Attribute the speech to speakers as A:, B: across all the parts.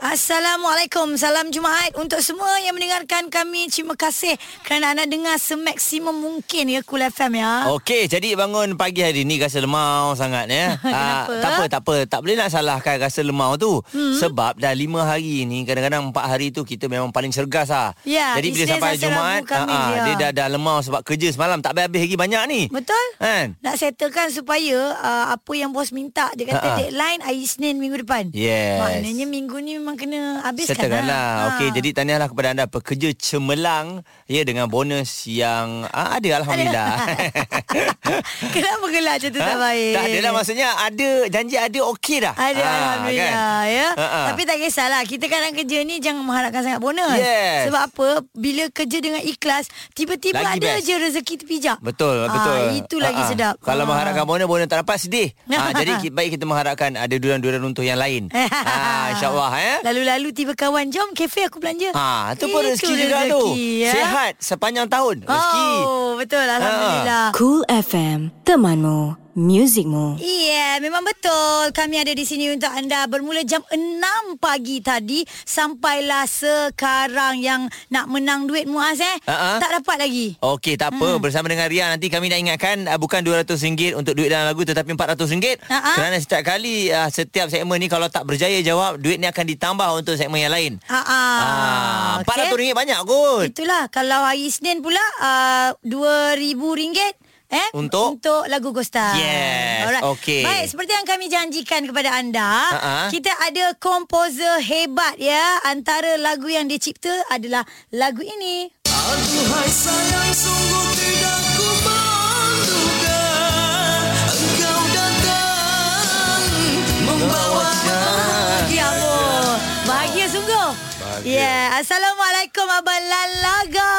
A: Assalamualaikum, salam Jumaat untuk semua yang mendengarkan kami. Terima kasih kerana anda dengar semaksimum mungkin ya Cool FM ya.
B: Okey, jadi bangun pagi hari ni rasa lemau sangat ya. Ah,
A: Kenapa?
B: tak apa, tak apa. Tak boleh nak salahkan rasa lemau tu. Hmm. Sebab dah lima hari ni, kadang-kadang empat hari tu kita memang paling cergas lah.
A: Ya,
B: jadi bila
A: Isnin
B: sampai
A: sampai
B: Jumaat,
A: Rabu, Khamis,
B: ah, ah,
A: ya.
B: dia dah, dah lemau sebab kerja semalam. Tak habis-habis lagi banyak ni.
A: Betul?
B: Kan?
A: Nak settlekan supaya uh, apa yang bos minta dia kata
B: Ha-ha.
A: deadline hari Isnin minggu depan.
B: Yes.
A: Maknanya minggu ni memang kena habiskan
B: Settlekan
A: lah.
B: lah. Okey, jadi tahniahlah kepada anda pekerja cemerlang ya dengan bonus yang ah, ada alhamdulillah.
A: Kenapa gelak macam tu tak
B: Ha?
A: baik?
B: Tak adalah maksudnya ada janji ada okey dah.
A: Ada
B: Ah,
A: Alhamdulillah
B: kan?
A: ya.
B: Ha, ha.
A: Tapi tak kisahlah Kita kadang kerja ni Jangan mengharapkan sangat bonus
B: Yes.
A: Sebab apa Bila kerja dengan ikhlas Tiba-tiba
B: Lagi
A: ada
B: best.
A: je rezeki terpijak Ah,
B: Betul, betul.
A: Itu lagi
B: Ah, ah.
A: sedap
B: Kalau
A: Ah.
B: mengharapkan bonus, bonus tak dapat sedih. ha, jadi ki- baik kita mengharapkan ada duran-duran untuk yang lain. ha, InsyaAllah eh.
A: Lalu-lalu tiba kawan Jom kafe aku belanja
B: Ha, tu pun rezeki juga tu.
A: ya.
B: Sehat sepanjang tahun. Rezeki.
A: Oh betul Alhamdulillah
C: Cool FM, temanmu, muzikmu.
A: Iya, yeah, memang betul. Kami ada di sini untuk anda bermula jam 6 pagi tadi sampailah sekarang yang nak menang duit Muaz eh.
B: Ha-ha.
A: Tak dapat lagi.
B: Okey, tak apa.
A: Hmm.
B: Bersama dengan Ria nanti kami nak ingatkan uh, bukan RM200 untuk duit dalam lagu tetapi RM400.
A: Ha-ha.
B: Kerana setiap kali uh, setiap segmen ni kalau tak berjaya jawab, duit ni akan ditambah untuk segmen yang lain.
A: Ha ah.
B: Ah, RM400 banyak kot.
A: Itulah kalau hari Isnin pula uh, RM2000 Eh,
B: Untuk?
A: untuk lagu Ghosta.
B: Yes, okey.
A: Baik, seperti yang kami janjikan kepada anda,
B: Ha-ha.
A: kita ada komposer hebat ya. Antara lagu yang dicipta adalah lagu ini.
D: Aduhai sayang sungguh tidak ku menduga Engkau datang membawa
A: Ya Allah Bahagia sungguh Bahagia. Yeah. Assalamualaikum Abang Lalaga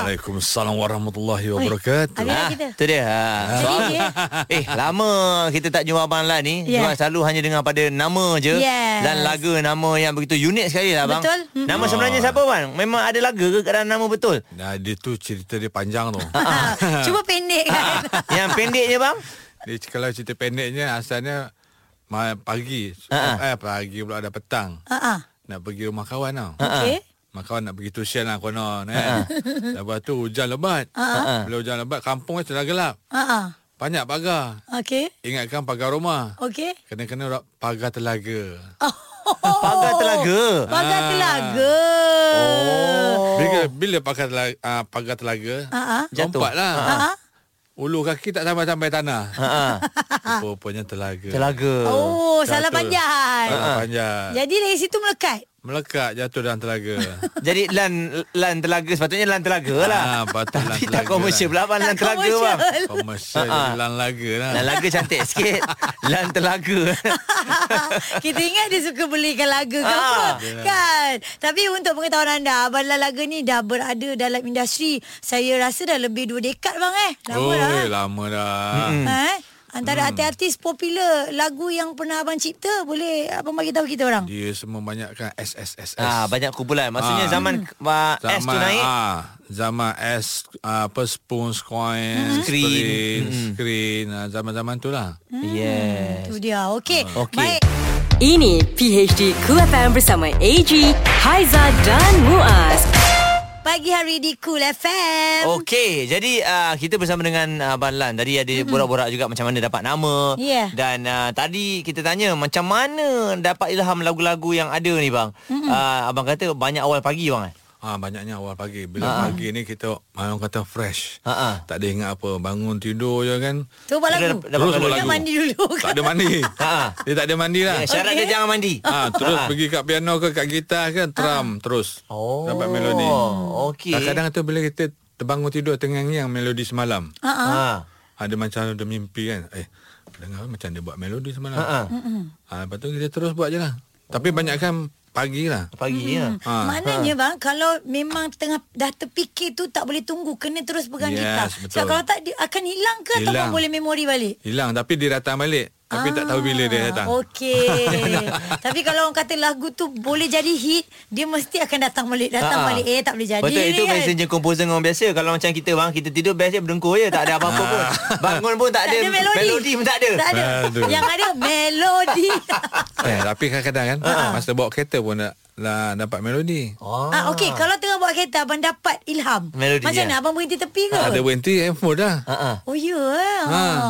D: Waalaikumsalam warahmatullahi wabarakatuh
A: Habis
B: Ah,
A: kan kita
B: Tu dia. Ha. Soal,
A: dia.
B: eh, lama kita tak jumpa Abang Lan
A: Ya.
B: ni. Yeah. Sebab selalu hanya dengar pada nama je.
A: Yes.
B: Dan laga nama yang begitu unik sekali lah bang.
A: Betul. Mm-mm.
B: Nama
E: Oh.
B: sebenarnya siapa bang? Memang ada laga ke dalam nama betul?
E: Nah, dia tu cerita dia panjang tu.
B: Ha.
A: Cuba pendek kan
B: yang pendeknya bang?
E: dia kalau cerita pendeknya asalnya ma- pagi.
B: Ha-ha.
E: Eh, pagi pula ada petang.
A: Ah, ah.
E: Nak pergi rumah kawan tau.
B: Ha.
A: Okey
E: Rumah kawan nak pergi tuition lah konon. Eh. Lepas tu hujan lebat.
B: Ha,
E: Bila hujan lebat, kampung macam dah gelap.
A: Ah, ah.
E: Banyak pagar.
A: Okey
E: Ingatkan pagar rumah.
A: Okey
E: Kena-kena ra- pagar telaga.
A: Oh.
B: Pagar Telaga.
A: Pagar
E: Ah.
A: telaga
B: Oh. Ha.
E: Bila, bila pagar telaga, uh, pagar telaga
A: Ah, ah.
B: Jatuh.
E: lompat lah.
A: Ah, ah.
E: Ulu kaki tak sampai-sampai tanah.
B: Ha.
E: Rupanya telaga.
B: Telaga.
A: Oh salah
E: Jatuh.
A: panjang Ah.
E: Tanah panjang.
A: Jadi dari situ melekat
E: Melekat jatuh dalam telaga.
B: Jadi lan lan telaga sepatutnya lan telaga lah.
E: Ah, patut lan
B: Tapi tak
E: telaga
B: komersial
E: lah.
B: pula bang lan
A: Tak
B: telaga bang.
A: commercial.
E: Komersial
B: Ha-ha.
E: jadi lan laga lah.
B: Lan laga cantik sikit. lan telaga.
A: Kita ingat dia suka belikan laga ke
B: Ah.
A: apa Kan Tapi untuk pengetahuan anda Abang Lal Laga ni dah berada dalam industri Saya rasa dah lebih dua dekad bang eh Lama
E: oh,
A: dah
E: eh,
A: eh.
E: lama dah.
A: Hmm. Ha, eh? Antara artis-artis popular lagu yang pernah abang cipta boleh abang bagi tahu kita orang.
E: Dia semua banyak kan SSSS.
B: Ah, banyak kumpulan.
E: Ah.
B: Maksudnya zaman
A: Hmm.
B: ah, S tu naik.
E: ah, zaman S ah, apa spoon coin,
B: Screen.
E: screen, screen, ah, zaman-zaman tu lah.
A: Hmm.
B: Yes.
A: Itu dia. Okey.
E: Ah.
B: Okey.
A: Baik.
C: Ini PHD Cool FM bersama AG, Haiza dan Muaz.
A: Pagi hari di Cool FM.
B: Okey, jadi uh, kita bersama dengan uh, Abang Lan. Tadi ada borak-borak juga macam mana dapat nama.
A: Yeah.
B: Dan uh, tadi kita tanya macam mana dapat ilham lagu-lagu yang ada ni bang. Uh, abang kata banyak awal pagi bang. eh?
E: Ah banyaknya awal pagi. Bila pagi ni kita orang kata fresh.
B: Ha, ha.
E: Tak ada ingat apa, bangun tidur je kan.
A: Tu buat lagu.
B: Dah- dah Terus buat
E: buat
A: Nak
E: lagu.
A: mandi dulu.
E: Tak ada mandi.
B: Ha.
E: Dia tak ada mandi lah.
B: Eh, Syarat
A: Okey.
B: dia jangan mandi.
E: Ah, terus
B: Ah.
E: pergi kat piano ke kat gitar ke drum terus.
B: Oh.
E: Dapat melodi.
B: Okey.
E: Kadang-kadang tu bila kita terbangun tidur terngiang-ngiang melodi semalam.
A: Ha ah.
B: Ha.
E: Ada macam ada mimpi kan. Eh, dengar macam dia buat melodi semalam.
B: Ha.
E: Ha, lepas tu kita terus buat je lah. Tapi banyakkan pagi lah.
B: Pagi ya.
E: Ah.
A: Maknanya bang Kalau memang tengah Dah terfikir tu Tak boleh tunggu Kena terus pegang
E: Yes,
A: gitar
E: betul.
A: Sebab kalau tak dia Akan hilang ke Ataupun
E: Hilang.
A: boleh memori balik Ah,
E: Hilang tapi dia datang balik. Tapi tak tahu bila dia datang.
A: Okey. Tapi kalau orang kata lagu tu boleh jadi hit, dia mesti akan datang balik. Datang
E: Ah,
B: Ha-ha.
A: balik. Eh, tak boleh jadi.
B: Betul
A: ni
B: itu
A: kan?
B: messenger komposer dengan orang biasa Kalau macam kita bang Kita tidur best je berdengkur je Tak ada
E: Ah.
B: apa-apa pun Bangun pun tak,
A: Tak ada melodi.
B: Melodi pun tak ada
A: Tak ada.
E: Aduh.
A: Yang ada melodi.
E: Eh, tapi kadang-kadang kan masa bawa kereta pun nak, nak dapat melodi.
B: oh.
A: ah, Okey, kalau tengah buat kereta, abang dapat ilham.
B: Melodi,
A: Macam
B: ya.
A: mana? Abang berhenti tepi ke?
E: Ada berhenti handphone dah.
B: Ha-ha.
A: Oh, ya. Yeah. Ha.
E: Ha.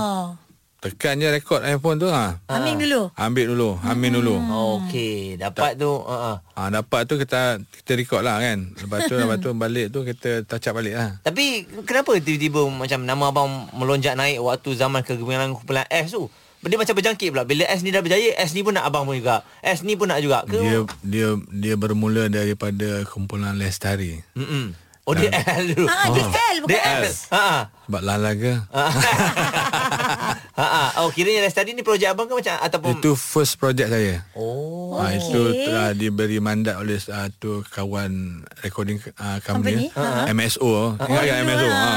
E: Tekan je rekod handphone tu ha.
A: Aming Ah.
B: Ah.
A: dulu.
E: Ambil dulu, amin dulu.
B: Hmm.
A: Hmm.
B: Okey Dapat tu uh-uh.
E: Ha, dapat tu kita kita record lah kan. Lepas tu lepas tu balik tu kita touch up balik lah.
B: Tapi kenapa tiba-tiba Macam nama abang Melonjak naik Waktu zaman kegemilangan kumpulan S tu dia macam berjangkit pula Bila S ni dah berjaya S ni pun nak abang pun juga S ni pun nak juga ke
E: Dia dia dia bermula daripada kumpulan Lestari.
B: Mm-mm. Oh dia L dulu
A: Ah, dia L, bukan
B: Dia L Ha,
A: S.
B: Ha-ha.
E: Sebab lalaga.
B: Ha-ha. Oh kiranya Lestari ni projek abang ke macam Ataupun
E: Itu first project saya.
B: Oh
E: Ha, itu telah diberi mandat oleh satu kawan recording uh, company,
A: Company?
E: MSO. Ingat kan MSO? Ha.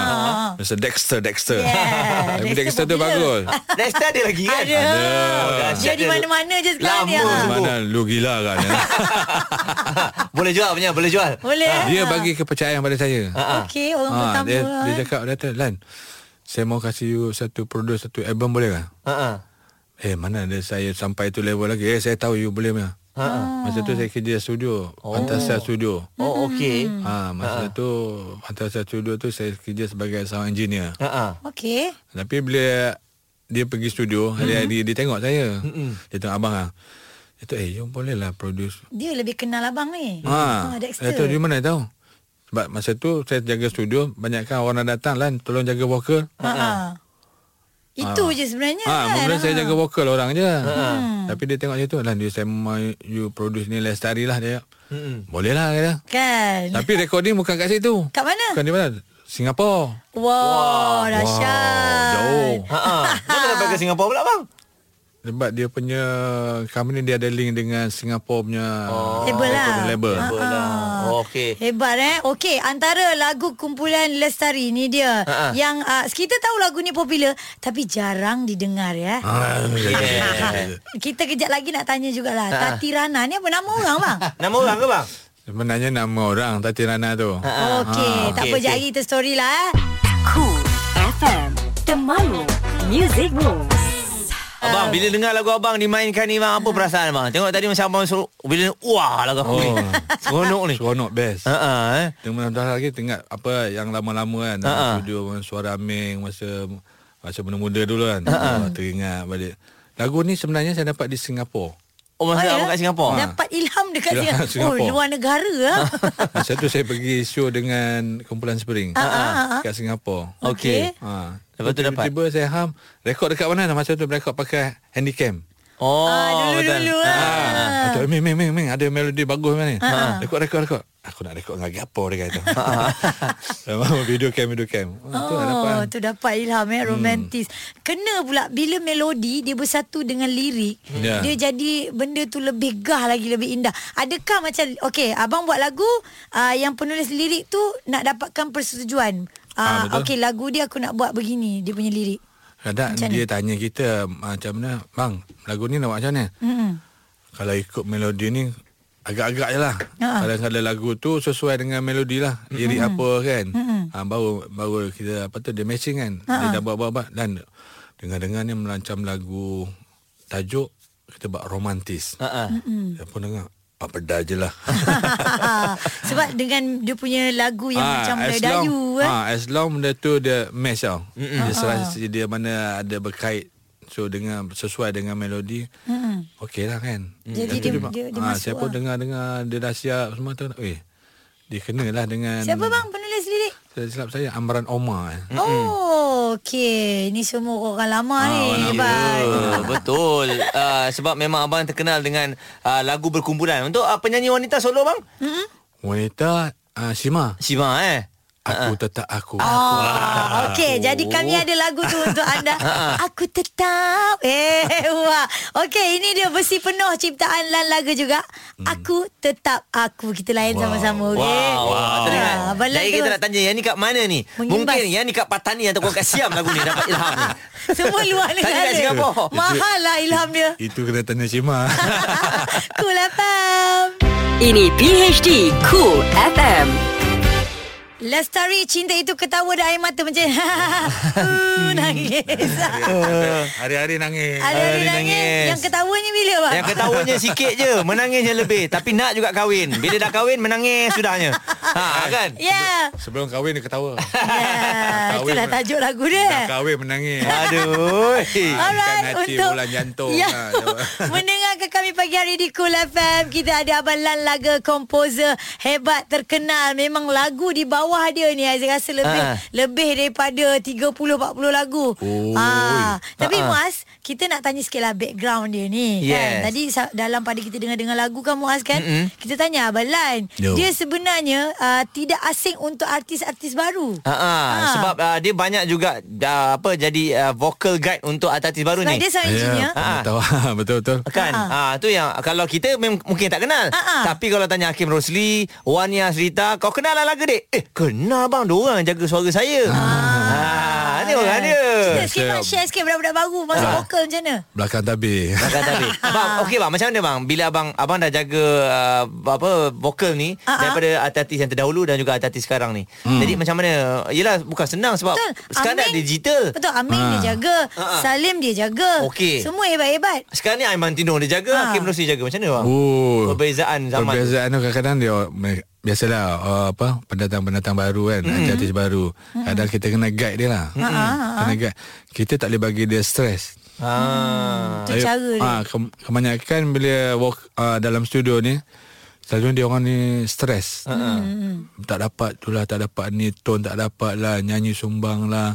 E: Mr. Dexter, Dexter.
A: Yeah,
E: Tapi Dexter
A: Dexter
E: tu bagus.
A: popular.
B: Lester ada lagi kan?
A: Ada.
B: Oh, dahsyat
A: Dia di mana-mana je sekarang Ah.
B: Lama
A: dia.
B: sungguh.
E: Mana lu gila kan?
B: Boleh jual punya, boleh jual.
A: Boleh.
E: Ah,
A: ah.
E: dia bagi kepercayaan pada saya.
A: Okey, orang
E: Ha,
A: pertama. eh. lah, kan?
E: dia, dia cakap, dia kata, Lan, saya mau kasih you satu produce, satu album boleh kan?
B: Ha ah.
E: Eh mana ada saya sampai tu level lagi Eh saya tahu you boleh punya ha. Masa tu saya kerja studio oh. Fantasia Studio
B: Oh okey.
A: Hmm.
E: ha, Masa tu Fantasia Studio tu saya kerja sebagai sound engineer
B: Ha ah.
A: Okey.
E: Tapi bila dia pergi studio
A: Hmm.
E: Hari-hari dia tengok saya Dia tengok abang lah Dia tu eh you boleh lah produce
A: Dia lebih kenal abang ni. Ah,
E: Ha,
A: Dexter.
E: Dia tu di mana tahu Sebab masa tu saya jaga studio Banyakkan orang nak datang Lan tolong jaga vokal
A: Ha.
B: Ah.
A: Itu je sebenarnya
E: Ha,
A: kan.
E: mula saya jaga vokal orang je.
B: Ah.
E: Hmm. Tapi dia tengok situ lah dia saya mau you produce ni lestari lah dia. Hmm. Boleh lah kata.
A: Kan.
E: Tapi Kan- recording bukan kat situ.
A: Kat mana?
E: Bukan di mana? Singapura.
A: Wow, dahsyat.
E: jauh.
B: Ha ah. Kenapa sampai ke Singapura pula bang?
E: Sebab dia punya company dia ada link dengan Singapura punya
B: Oh.
A: Label lah.
E: recording label.
B: Label lah.
A: Ah.
B: Oh okey.
A: Hebat eh Okey Antara lagu kumpulan Lestari ni dia
B: Ha, ha.
A: Yang uh, Kita tahu lagu ni popular Tapi jarang didengar ya
E: Ah,
B: Yeah.
A: Kita kejap lagi nak tanya jugalah Tati Rana ni apa nama orang bang?
B: Nama orang ke bang?
E: Sebenarnya nama orang Tati Rana
B: Ah,
E: tu. Ah.
A: Okey Tak
B: Okey,
A: apa jap
B: okey.
A: lagi kita story lah eh
C: Cool FM Temanmu Music Rules
B: Abang bila dengar lagu abang dimainkan ni bang apa perasaan bang? Tengok tadi macam abang suruh bila wah lagu aku ni.
E: Oh.
B: Seronok ni.
E: Seronok best.
B: Ha ah eh.
E: Tengok mudah lagi tengok apa yang lama-lama kan
B: Ha-ha.
E: uh-huh. studio dengan suara aming masa masa muda-muda dulu kan. Uh-huh. Teringat balik. Lagu ni sebenarnya saya dapat di Singapura.
B: Oh masa
A: ya?
B: abang kat Singapura.
A: Dapat ilham dekat
E: Ilham
A: Singapura. Oh
E: Singapura.
A: luar negara ah.
E: masa tu saya pergi show dengan kumpulan Spring uh-huh. kat Singapura.
B: Okey.
E: Ha.
B: Lepas tu dapat?
E: Tiba-tiba saya ham rekod dekat mana masa tu rekod pakai handycam.
B: Oh.
A: Ah,
B: betul.
A: dulu-dulu
B: Ha,
A: ah.
B: ha, ha.
E: Ah. Atau ming ming ming ming ada melodi bagus mana. Ha. Rekod rekod rekod. Aku nak rekod dengan gapo dia kata. Sama video cam video cam. Ah, tu lah dapat.
A: Oh, tu dapat ilham
E: Hmm.
A: eh romantis. Kena pula bila melodi dia bersatu dengan lirik,
E: Ya.
A: dia jadi benda tu lebih gah lagi lebih indah. Adakah macam okey, abang buat lagu uh, yang penulis lirik tu nak dapatkan persetujuan.
E: Ah,
A: Uh,
E: betul.
A: okey, lagu dia aku nak buat begini, dia punya lirik.
E: Kadang
A: Macam
E: macam dia tanya kita macam mana, bang, lagu ni nak buat macam mana?
A: Mm-mm.
E: Kalau ikut melodi ni agak-agak je lah.
A: Ha. Hmm.
E: Kadang-kadang lagu tu sesuai dengan melodi lah. Lirik apa kan. Ha, baru baru kita apa tu dia matching kan. Dia dah buat-buat dan dengar-dengar ni melancam lagu tajuk kita buat romantis.
B: Ha ah.
A: Hmm.
E: Dia pun dengar apa dah je lah.
A: Sebab dengan dia punya lagu yang
E: Ah,
A: macam
E: as
A: Melayu
E: long,
A: eh.
E: ah, As long benda tu dia match tau
A: Ah,
E: Dia serasi dia mana ada berkait So dengan sesuai dengan melodi mm Okey lah kan
A: Jadi
E: Lepas tu
A: dia-
E: buat-
A: dia- dia
E: ah,
A: masuk
E: Saya pun
A: lah.
E: dengar-dengar Dia dah siap semua tu Eh Dia kenalah dengan
A: Siapa bang penulis lirik?
E: Saya silap saya Amran Omar eh.
A: Oh, okey. Ni semua orang lama
E: Ah,
B: Oh,
A: ni.
E: orang lama.
A: Bye.
B: Ya, betul. Uh, sebab memang abang terkenal dengan uh, lagu berkumpulan. Untuk uh, penyanyi wanita solo bang?
E: Wanita ah, Shima
B: Sima eh.
E: Aku tetap aku
A: Ah, okey. Jadi kami ada lagu tu untuk anda.
B: Ha.
A: Aku tetap. Eh, wah. Okey, ini dia versi penuh
B: Hmm.
A: ciptaan Lan Laga juga. Aku tetap aku. Kita layan sama-sama, okey?
B: Wow, wow.
A: Ya,
B: Teringat
A: Abang Lan
B: Jadi kita
A: tu-
B: nak tanya Yang ni kat mana ni
A: Mengimbas.
B: Mungkin yang ni kat Patani Ataupun kat Siam lagu ni Dapat ilham ni
A: Semua luar
B: Tanya
A: negara.
B: kat Singapura.
A: Mahal lah ilham dia.
E: Itu kena tanya Cima
A: cool FM.
C: Ini PHD Cool FM.
A: Lestari cinta itu ketawa dan air mata macam uh, nangis.
E: Hari-hari nangis
A: Hari-hari
B: Hari
A: nangis.
B: nangis.
A: Yang ketawanya bila bang?
B: Yang ketawanya sikit je Menangisnya lebih Tapi nak juga kahwin Bila dah kahwin Menangis sudahnya Ha kan
A: Ya. Yeah.
E: Sebelum kahwin dia ketawa
A: Yeah.
E: Kahwin
A: Ya, Itulah
E: pun-
A: tajuk lagu dia. Ah,
E: Dah kahwin menangis
B: Aduh
E: Ikan hati bulan jantung.
A: ya,
E: Ha, jawab.
A: Mendengarkan kami pagi hari di Cool FM Kita ada Abang Lan laga komposer Hebat terkenal Memang lagu di bawah dia ni Saya rasa lebih
B: Ha.
A: Lebih daripada 30-40 lagu
E: Oi.
A: Ah, Tapi
B: Ha.
A: Muaz Kita nak tanya sikit lah background dia ni
B: Yes.
A: kan? Tadi sa- dalam pada kita dengar-dengar lagu kan Muaz kan mm Kita tanya Abang Lan
E: Yo.
A: Dia sebenarnya uh, Tidak asing untuk artis-artis baru
B: Ha, ha.
A: Ha.
B: sebab uh, dia banyak juga uh, apa jadi uh, vocal guide untuk artis baru
A: Sebab
B: ni.
A: dia Ah. seorang engineer
B: Ah.
E: Ya, Tahu Betul-betul
B: Kan ha. ha tu yang Kalau kita mem- Mungkin tak kenal
A: Ha-ha.
B: Tapi kalau tanya Hakim Rosli Wania Serita Kau kenal lah lagu dek Eh kenal bang Diorang yang jaga suara saya
A: Ah.
B: ha. Ni
E: Ah.
B: orang dia
A: Cerita sikit Mak lah, share sikit Budak-budak baru Masuk vokal macam mana
E: Belakang tabir
B: Makan tadi.
A: Ah.
B: Bang, okey bang, macam mana bang? Bila abang abang dah jaga uh, apa vokal
A: Ah,
B: ni
A: ah.
B: uh-huh. daripada artis yang terdahulu dan juga artis sekarang ni. Hmm. Jadi macam mana? Yalah bukan senang sebab
A: Betul
B: sekarang dah
A: Amin-
B: digital.
A: Betul Amin
E: Ah.
A: ha. dia jaga ha.
B: Ha.
A: Salim dia jaga
B: Okey.
A: Semua hebat-hebat
B: Sekarang ni Aiman Tino dia jaga,
A: Ah.
B: Hakim Rosli jaga. Macam mana bang?
E: Oh.
B: Perbezaan zaman. Perbezaan.
E: Perbezaan tu kadang-kadang dia me- biasalah uh, apa pendatang-pendatang baru kan, mm. artis baru. Kadang kita kena guide dia lah. Mm. Kena guide. Kita tak boleh bagi dia stres.
B: Ha.
A: Itu cara dia
E: ah, ke, kebanyakan bila walk uh, dalam studio ni selalunya dia orang ni stres.
A: Ah,
E: Mm. Tak dapat tu lah, tak dapat ni, tone tak dapat lah, nyanyi sumbang lah.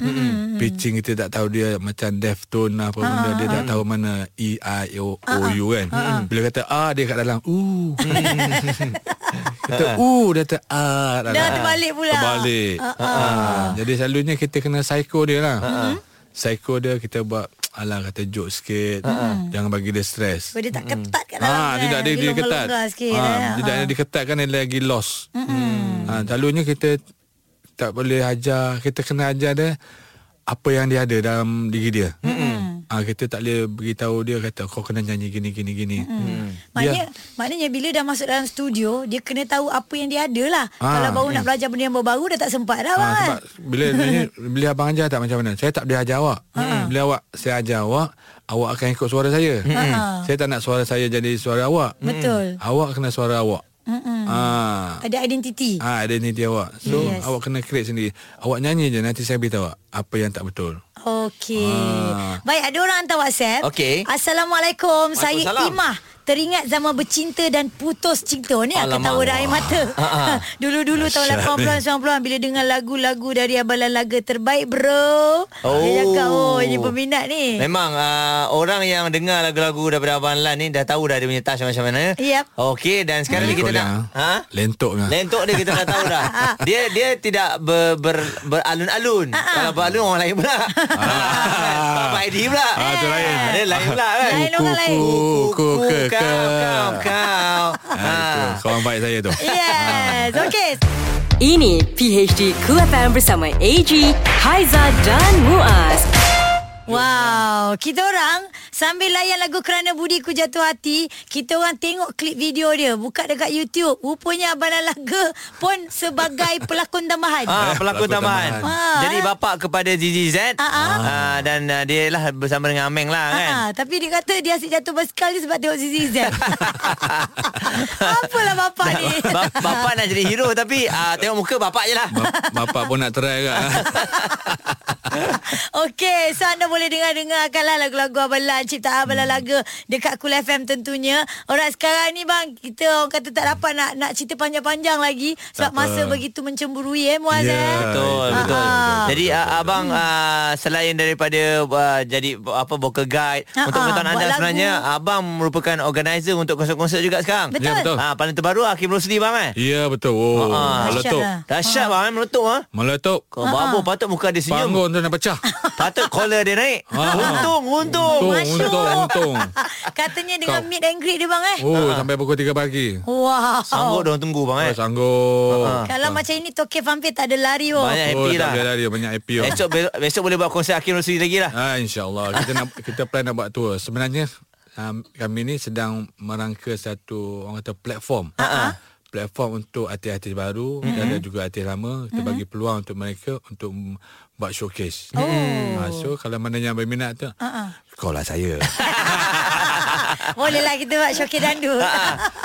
E: Mm.
A: Hmm,
E: Pitching kita tak tahu dia macam deaf tone lah
A: Ah,
E: apa benda dia tak tahu mana E I O O U kan.
A: ah.
E: Bila kata A dia kat dalam U. kata U dia kata A. dalam.
A: Hmm. Dah terbalik pula.
E: Terbalik. Ah, Jadi selalunya kita kena psycho dia lah. Psycho dia kita buat Alah kata joke sikit Jangan bagi dia stres
A: Sebab dia tak ketat kat dalam
E: Ah,
A: kan.
E: dia tak ada dia ketat.
A: longgar-longgar sikit
E: Ah,
A: eh.
E: dia tak ada dia ketat kan dia lagi lost. Hmm. Ah, selalunya kita tak boleh ajar, kita kena ajar dia apa yang dia ada dalam diri dia. Hmm. Ah, kita tak boleh beritahu dia kata kau kena nyanyi gini gini gini. Hmm.
A: Maknanya, maknanya bila dah masuk dalam studio Dia kena tahu apa yang dia ada lah
E: Ah,
A: Kalau baru nak belajar benda yang baru-baru Dah tak sempat dah
E: Ah,
A: bang
E: sebab bila bila, bila abang ajar tak macam mana. Saya tak boleh ajar awak. Hmm. Bila awak saya ajar awak, awak akan ikut suara saya. Hmm.
A: Ha-ha.
E: Saya tak nak suara saya jadi suara awak.
A: Betul
E: Awak kena suara awak. Ah.
A: Ada identiti
E: Ah, identiti awak. So
A: Yes.
E: yes. awak kena create sendiri. Awak nyanyi je nanti saya beritahu awak apa yang tak betul.
A: Okey.
E: Ah.
A: Baik, ada orang hantar WhatsApp.
B: Okey.
A: Assalamualaikum. Saya
B: Waalaikumsalam.
A: Imah. Teringat zaman bercinta dan putus cinta ni aku
B: Alamak.
A: tahu dah air mata.
B: ah.
A: Dulu-dulu tahun 80-an 90-an bila dengar lagu-lagu dari Abalan Laga terbaik bro. Dia cakap oh ini peminat ni.
B: Memang uh, orang yang dengar lagu-lagu daripada Abang Lan ni dah tahu dah dia punya touch macam mana.
A: Yep.
B: Okey dan sekarang ni kita nak ha?
E: Lentok lah.
B: Lentok dia kita dah tahu dah. Dia dia tidak ber, ber, beralun-alun. Kalau beralun orang lain pula. Tak apa ID pula.
E: Ah, tu lain.
B: Dia lain pula kan.
A: Lain orang lain.
E: Ku- ku-
B: Kuku
E: ke- ke.
B: kau kau kau.
E: Ah, itu. Kawan baik saya tu.
A: Yes. Okey.
C: Ini PHD Cool FM bersama AG, Haiza dan Muaz.
A: Wow, kita orang sambil layan lagu Kerana Budiku Jatuh Hati, kita orang tengok klip video dia, buka dekat YouTube. Rupanya Abang Lan Laga pun sebagai pelakon tambahan.
B: Ah, pelakon
E: Pelakon
B: tambahan.
E: tambahan.
A: Ah,
B: Jadi
A: eh.
B: bapa kepada Zizi Z
A: Ah, ah.
B: ah, dan ah, dia lah bersama dengan Ameng lah kan.
A: Ha, tapi dia kata dia asyik jatuh basikal ni sebab tengok Zizi Z. Apalah bapak ni.
B: Ba- Bapak nak jadi hero tapi ah, tengok muka bapak je lah.
E: Bap- Bapak pun nak try kat.
A: Okey, so anda boleh dengar-dengarkanlah lagu-lagu Abang Lan, ciptaan Abang
B: Hmm.
A: Lan laga dekat Kul FM tentunya. Orang sekarang ni bang, kita orang kata tak dapat nak nak cerita panjang-panjang lagi sebab masa begitu mencemburui eh Muaz
B: Ya.
A: eh.
E: Yeah. Ah,
B: Betul, betul.
E: betul, betul,
B: Jadi
E: betul,
B: ah, abang
A: Hmm.
B: ah, selain daripada ah, jadi apa vocal guide
A: Ah,
B: untuk
A: ah,
B: pengetahuan anda
A: buat lagu.
B: sebenarnya abang merupakan organizer untuk konsert-konsert juga sekarang.
A: Betul. Ya,
E: betul.
B: Ah paling terbaru Hakim Rosli bang eh.
E: Ya betul. Oh,
B: Ah.
E: meletup.
A: Dahsyat
B: Dahsyat bang eh, meletup ah.
E: Meletup.
A: ah.
B: Kau babu patut muka dia senyum.
E: Panggung tu nak pecah.
B: Patut collar dia naik. naik.
E: Ah.
B: Untung, untung.
E: Untung,
A: Masuk.
E: untung, untung.
A: Katanya dengan
E: Kau-
A: meet and greet dia bang eh.
E: Oh,
B: Ah.
E: sampai pukul 3 pagi.
A: Wow.
B: Sanggup dia orang tunggu bang eh.
E: Oh, sanggup.
B: Ah.
A: Kalau macam ini Tokyo Vampir tak ada lari oh.
B: Banyak
E: oh,
B: happy
E: tak
B: lah.
E: boleh lari banyak happy.
A: Eh,
E: oh.
B: Esok besok, besok boleh buat konsert Akim Rosli lagi lah.
E: Ah insyaallah kita nak kita plan nak buat tour. Sebenarnya um, kami ni sedang merangka satu orang kata platform.
A: Ha. Ah,
E: Uh-huh. Platform untuk artis-artis baru mm-hmm. dan ada juga artis lama kita mm-hmm. bagi peluang untuk mereka untuk m- buat showcase. Oh. Ha, so kalau mana yang berminat tu
A: Ha,
E: uh-huh. call lah saya.
A: Bolehlah kita buat syokir dandut.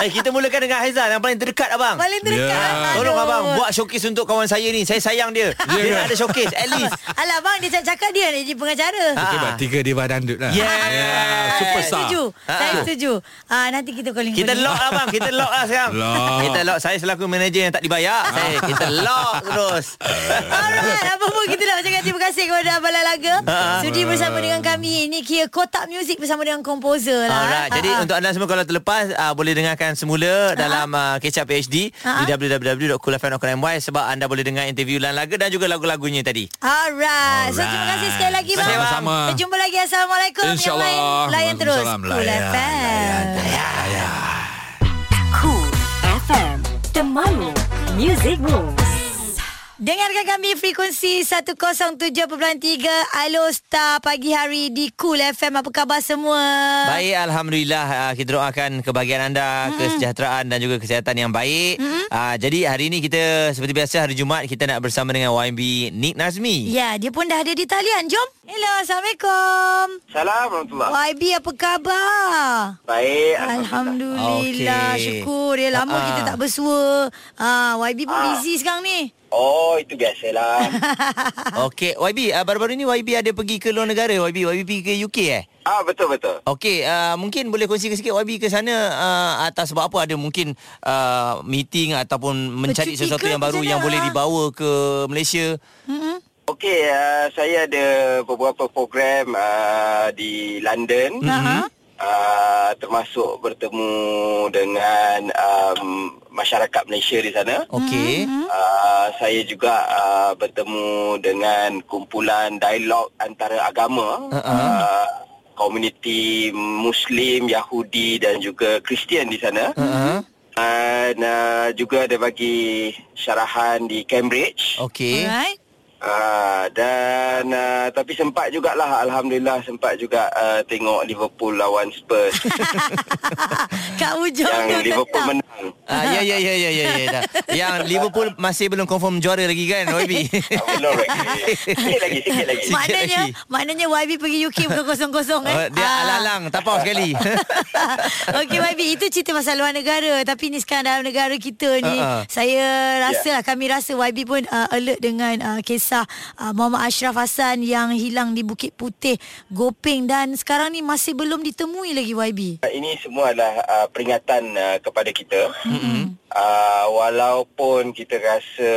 B: eh, kita mulakan dengan Haizal yang paling terdekat abang.
A: Paling terdekat.
E: Ya.
A: aduh.
B: Tolong abang buat showcase untuk kawan saya ni. Saya sayang dia. dia
E: ke?
B: nak ada showcase at least. Ah,
A: Alah bang dia cakap dia nak jadi pengacara. Eh,
E: Kita buat tiga diva dandut lah.
B: Yeah.
E: yeah superstar.
A: Setuju.
B: Ah.
A: Saya setuju. Ah nanti kita calling.
B: Kita lock lah bang Kita lock lah sekarang
E: Lock. Ah.
B: Kita lock Saya selaku manager yang tak dibayar saya, Kita lock terus
A: Alright, apa pun kita nak cakap terima kasih kepada Abang Lalaga.
B: Ah.
A: Sudi bersama dengan kami. Ini kira kotak muzik bersama dengan komposer lah.
B: Alright Jadi
A: Ah, ah.
B: untuk anda semua Kalau terlepas uh, Boleh dengarkan semula Dalam uh, Kecap PhD
A: Ah.
B: Di www.coolfm.my Sebab anda boleh dengar Interview Lan Laga Dan juga lagu-lagunya tadi
A: Alright. So terima kasih sekali lagi bang.
E: Sama-sama.
A: Jumpa lagi. Assalamualaikum. Yang
E: InsyaAllah.
A: lain, Layan terus.
E: Waalaikumsalam.
A: Cool
E: Layan,
A: FM.
C: Cool FM Temanmu Music Moves
A: Dengarkan kami frekuensi 107.3 Alo Star pagi hari di Cool FM. Apa khabar semua? Ah.
B: Baik Alhamdulillah uh, Kita doakan kebahagiaan anda mm-hmm. Kesejahteraan dan juga kesihatan yang baik mm-hmm. uh, Jadi hari ini kita Seperti biasa hari Jumaat Kita nak bersama dengan YB Nick Nazmi
A: Ya, dia pun dah ada di talian. Jom. Hello, Assalamualaikum.
F: Salam warahmatullahi
B: Ah.
A: YB, apa khabar?
F: Baik
A: Alhamdulillah
B: Okey. Ah,
A: okay. Syukur ya Lama
B: Ha-ha.
A: kita tak bersua ah, YB pun
F: Ah.
A: busy sekarang ni
F: Oh itu biasalah
B: Okey YB uh, Baru-baru ni YB ada pergi ke luar negara YB YB pergi ke UK eh
F: Ah betul-betul
B: Okey, uh, mungkin boleh kongsikan sikit YB ke sana uh, atas sebab apa ada mungkin uh, meeting ataupun mencari
A: Bercuti
B: sesuatu
A: ke
B: yang baru
A: macam
B: yang
A: mana?
B: boleh dibawa ke Malaysia.
F: Okey uh, saya ada beberapa program uh, di London
A: Ha-ha.
F: uh, Termasuk bertemu dengan um, masyarakat Malaysia di sana
B: Oh. Okey.
A: Mm-hmm.
F: uh, Saya juga uh, bertemu dengan kumpulan dialog antara agama uh, Komuniti Muslim, Yahudi dan juga Kristian di sana
B: Ha.
F: Dan uh, juga ada bagi syarahan di Cambridge.
B: Okey.
A: Alright
F: Uh, dan uh, tapi sempat jugalah alhamdulillah sempat juga uh, tengok Liverpool lawan Spurs
A: Kak Ujung
F: yang
A: Ah, tu
F: Liverpool
A: tetap
F: menang.
B: Ah ya ya ya ya ya ya. dah. Yang Liverpool masih belum confirm juara lagi kan YB.
F: Ah, Belum lagi. Sikit lagi, sikit lagi.
B: Sikit
A: Maknanya
B: lagi.
A: Maknanya YB pergi UK Bukan kosong-kosong eh
B: Oh, dia
A: Ah.
B: alang-alang tapau sekali.
A: Okey YB Itu cerita pasal luar negara Tapi ni sekarang dalam negara kita ni
B: Ha-ha.
A: Saya
B: Ya.
A: rasa lah Kami rasa YB pun uh, alert dengan uh, Kisah uh, Muhammad Ashraf Hassan Yang hilang di Bukit Putih Gopeng Dan sekarang ni Masih belum ditemui lagi YB
F: Uh, Ini semua adalah uh, peringatan uh, kepada kita. Mm-hmm. Uh, walaupun kita rasa,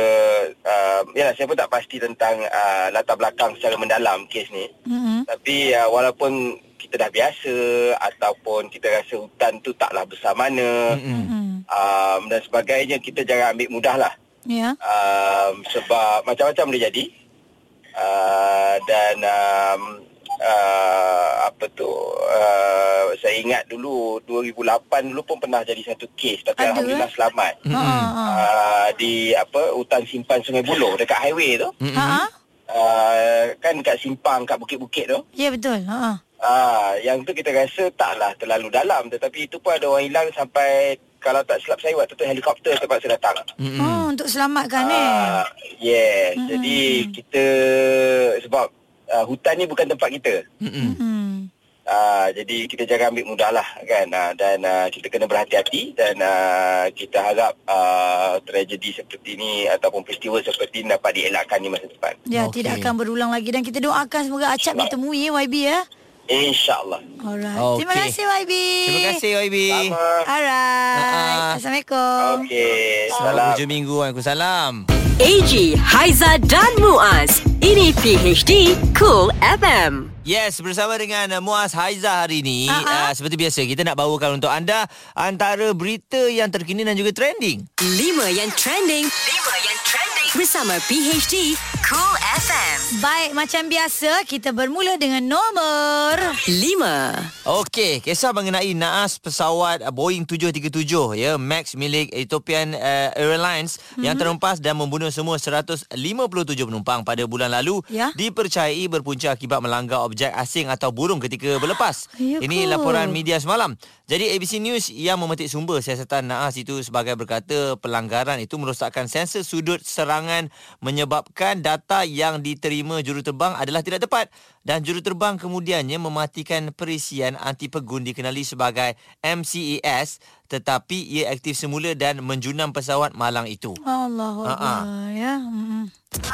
F: uh, yalah saya pun tak pasti tentang uh, latar belakang secara mendalam kes ni. Mm-hmm. Tapi uh, walaupun kita dah biasa ataupun kita rasa hutan tu taklah besar mana
A: Hmm.
F: mm-hmm. um, dan sebagainya, kita jangan ambil mudah lah.
A: Ya
F: Um, sebab macam-macam boleh jadi. Uh, dan um, uh, apa tu uh, saya ingat dulu 2008 dulu pun pernah jadi satu kes tapi
A: Ada,
F: alhamdulillah
A: eh?
F: selamat. Uh, di apa hutan simpan Sungai Buloh dekat highway tu.
A: Ha-ha.
F: Uh, kan dekat simpang kat bukit-bukit tu.
A: Ya betul ha.
F: Ah, yang tu kita rasa taklah terlalu dalam tetapi itu pun ada orang hilang sampai kalau tak silap saya waktu tu helikopter terpaksa datang.
A: Mm. Oh, untuk selamatkan eh.
F: Ah, yes. Mm-hmm. Jadi kita sebab uh, hutan ni bukan tempat kita.
B: Ah.
A: Hmm.
F: Uh, jadi kita jangan ambil mudah lah kan uh, dan uh, kita kena berhati-hati dan uh, kita harap uh, tragedi seperti ini ataupun peristiwa seperti ini dapat dielakkan di masa depan.
A: Ya, okay.
B: Okey.
A: tidak akan berulang lagi dan kita doakan semoga acap ditemui eh YB ya.
F: InsyaAllah.
A: Alright.
B: Okey.
A: Okay. Terima kasih YB.
B: Terima kasih Ha, YB.
F: Sama.
A: Alright.
B: Ha-ha.
A: Assalamualaikum.
F: Okey.
B: Ah,
F: Salam.
B: Selamat hujung minggu. Waalaikumsalam.
C: AG, Haiza dan Muaz Ini PHD Cool FM
B: Yes, bersama dengan uh, Muaz Haiza hari ini uh-huh. uh, Seperti biasa, kita nak bawakan untuk anda Antara berita yang terkini dan juga trending
C: 5 yang trending 5 yang trending Bersama PHD Cool FM
A: Baik, macam biasa kita bermula dengan nombor
C: 5.
B: Okey, kisah mengenai naas pesawat uh, Boeing 737 ya Max milik Ethiopian uh, Airlines mm-hmm. yang terhempas dan membunuh semua 157 penumpang pada bulan lalu
A: Ya.
B: dipercayai berpunca akibat melanggar objek asing atau burung ketika berlepas.
A: ya
B: Ini
A: ke?
B: laporan media semalam. Jadi ABC News yang memetik sumber siasatan naas itu sebagai berkata pelanggaran itu merosakkan sensor sudut serangan menyebabkan data yang diterima juruterbang adalah tidak tepat dan juruterbang kemudiannya mematikan perisian anti pegun dikenali sebagai MCES tetapi ia aktif semula dan menjunam pesawat malang itu.
A: Allahu
B: Ha,
A: Akbar ya. Mm-mm.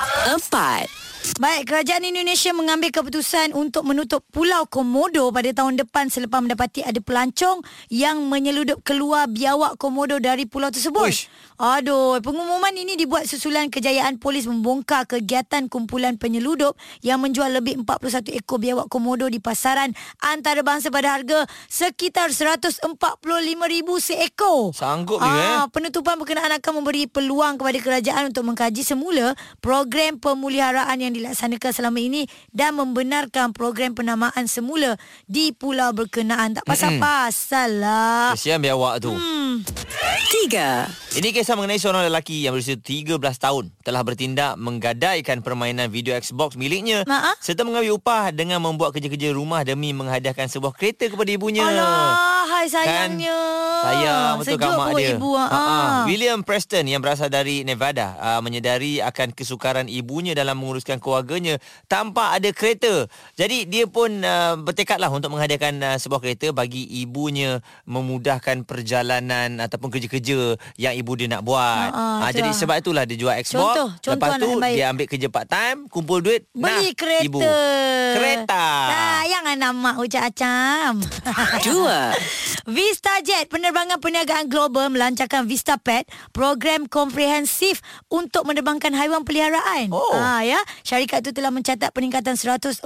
C: 4.
A: Baik, kerajaan Indonesia mengambil keputusan untuk menutup Pulau Komodo pada tahun depan selepas mendapati ada pelancong yang menyeludup keluar biawak Komodo dari pulau tersebut.
D: Uish.
A: Aduh, pengumuman ini dibuat susulan kejayaan polis membongkar kegiatan kumpulan penyeludup yang menjual lebih 41 ekor biawak Komodo di pasaran antarabangsa pada harga sekitar 145,000 seekor.
B: Sanggup ni, eh?
A: Ah, Penutupan berkenaan akan memberi peluang kepada kerajaan untuk mengkaji semula program pemuliharaan yang dilaksanakan selama ini dan membenarkan program penamaan semula di pulau berkenaan. Tak pasal-pasal lah.
B: Kesian biawak tu. Hmm.
C: 3.
B: Ini kisah mengenai seorang lelaki yang berusia 13 tahun telah bertindak menggadaikan permainan video Xbox miliknya
A: Ha, ha?
B: serta mengambil upah dengan membuat kerja-kerja rumah demi menghadiahkan sebuah kereta kepada ibunya.
A: Alah, hai
B: Kan?
A: sayangnya.
B: Sayang betul
A: Sejuk
B: kat mak
A: perut
B: dia.
A: Ibu, ha,
B: Ha, ha. William Preston yang berasal dari Nevada uh, menyedari akan kesukaran ibunya dalam menguruskan keluarganya tanpa ada kereta. Jadi dia pun uh, bertekadlah untuk menghadiahkan uh, sebuah kereta bagi ibunya memudahkan perjalanan ataupun kerja-kerja yang ibu dia nak
A: Ha,
B: buat.
A: ha, itulah.
B: Ah, jadi sebab itulah dia jual Xbox.
A: Contoh, contoh
B: Lepas
A: anak
B: tu
A: yang baik.
B: dia ambil kerja part time, kumpul duit,
A: Beli
B: nah,
A: kereta.
B: ibu. Kereta.
A: Sayang anak mak ucap acam.
C: 2.
A: Vista Jet, penerbangan perniagaan global melancarkan Vista Pet, program komprehensif untuk menerbangkan haiwan peliharaan.
B: Oh.
A: Ha, ya. Syarikat itu telah mencatat peningkatan 104%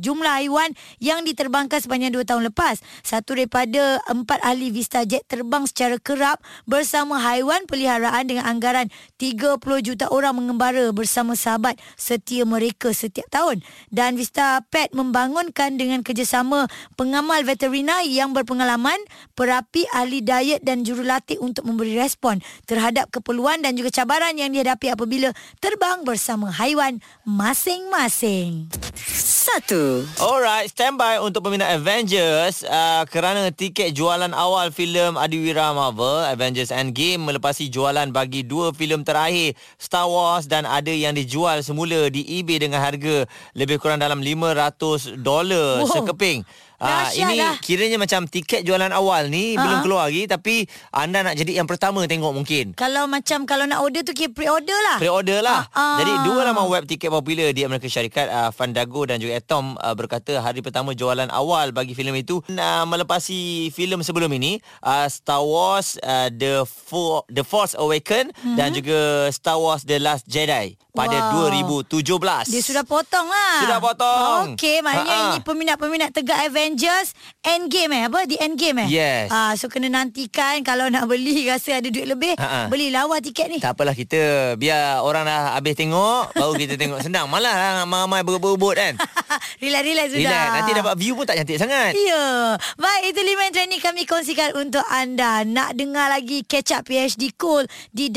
A: jumlah haiwan yang diterbangkan sepanjang 2 tahun lepas. Satu daripada empat ahli Vista Jet terbang secara kerap bersama haiwan peliharaan dengan anggaran 30 juta orang mengembara bersama sahabat setia mereka setiap tahun. Dan Vista Pet membangunkan dengan kerjasama pengamal veterina yang berpengalaman, perapi ahli diet dan jurulatih untuk memberi respon terhadap keperluan dan juga cabaran yang dihadapi apabila terbang bersama haiwan masing-masing.
C: 1.
B: Alright, stand by untuk peminat Avengers uh, kerana tiket jualan awal filem Adiwira Marvel Avengers Endgame melepasi jualan bagi dua filem terakhir Star Wars dan ada yang dijual semula di eBay dengan harga lebih kurang dalam 500 dolar
A: Wow.
B: sekeping. Ah,
A: Dahsyat
B: ini
A: lah.
B: kiranya macam tiket jualan awal ni belum keluar lagi tapi anda nak jadi yang pertama tengok mungkin.
A: Kalau macam kalau nak order tu kira pre-order lah.
B: Pre-order lah.
A: Ah, ah.
B: Jadi dua laman web tiket popular di Amerika Syarikat uh, Fandago dan juga Atom uh, berkata hari pertama jualan awal bagi filem itu uh, melepasi filem sebelum ini uh, Star Wars uh, The Fo- The Force Awakens mm-hmm. dan juga Star Wars The Last Jedi pada
A: Mhm. Wow.
B: 2017.
A: Dia sudah potong lah.
B: Sudah potong.
A: Okey, maknanya
B: Ha-ha.
A: ini peminat-peminat tegak Avengers Endgame eh. Apa? Di Endgame eh?
B: Yes.
A: Ah, so, kena nantikan kalau nak beli rasa ada duit lebih.
B: Ha-ha.
A: Beli lawa tiket ni.
B: Tak apalah kita biar orang dah habis tengok baru kita tengok senang. Malah lah ramai-ramai berebut-berebut kan.
A: Relax-relax sudah.
B: Relax. Nanti dapat view pun tak cantik sangat.
A: Ya. Baik, itu lima yang trending kami kongsikan untuk anda. Nak dengar lagi catch up PhD Cool di